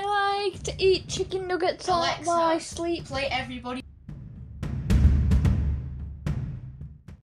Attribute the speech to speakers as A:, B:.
A: like to eat chicken nuggets all
B: Alexa,
A: while I sleep.
B: Play everybody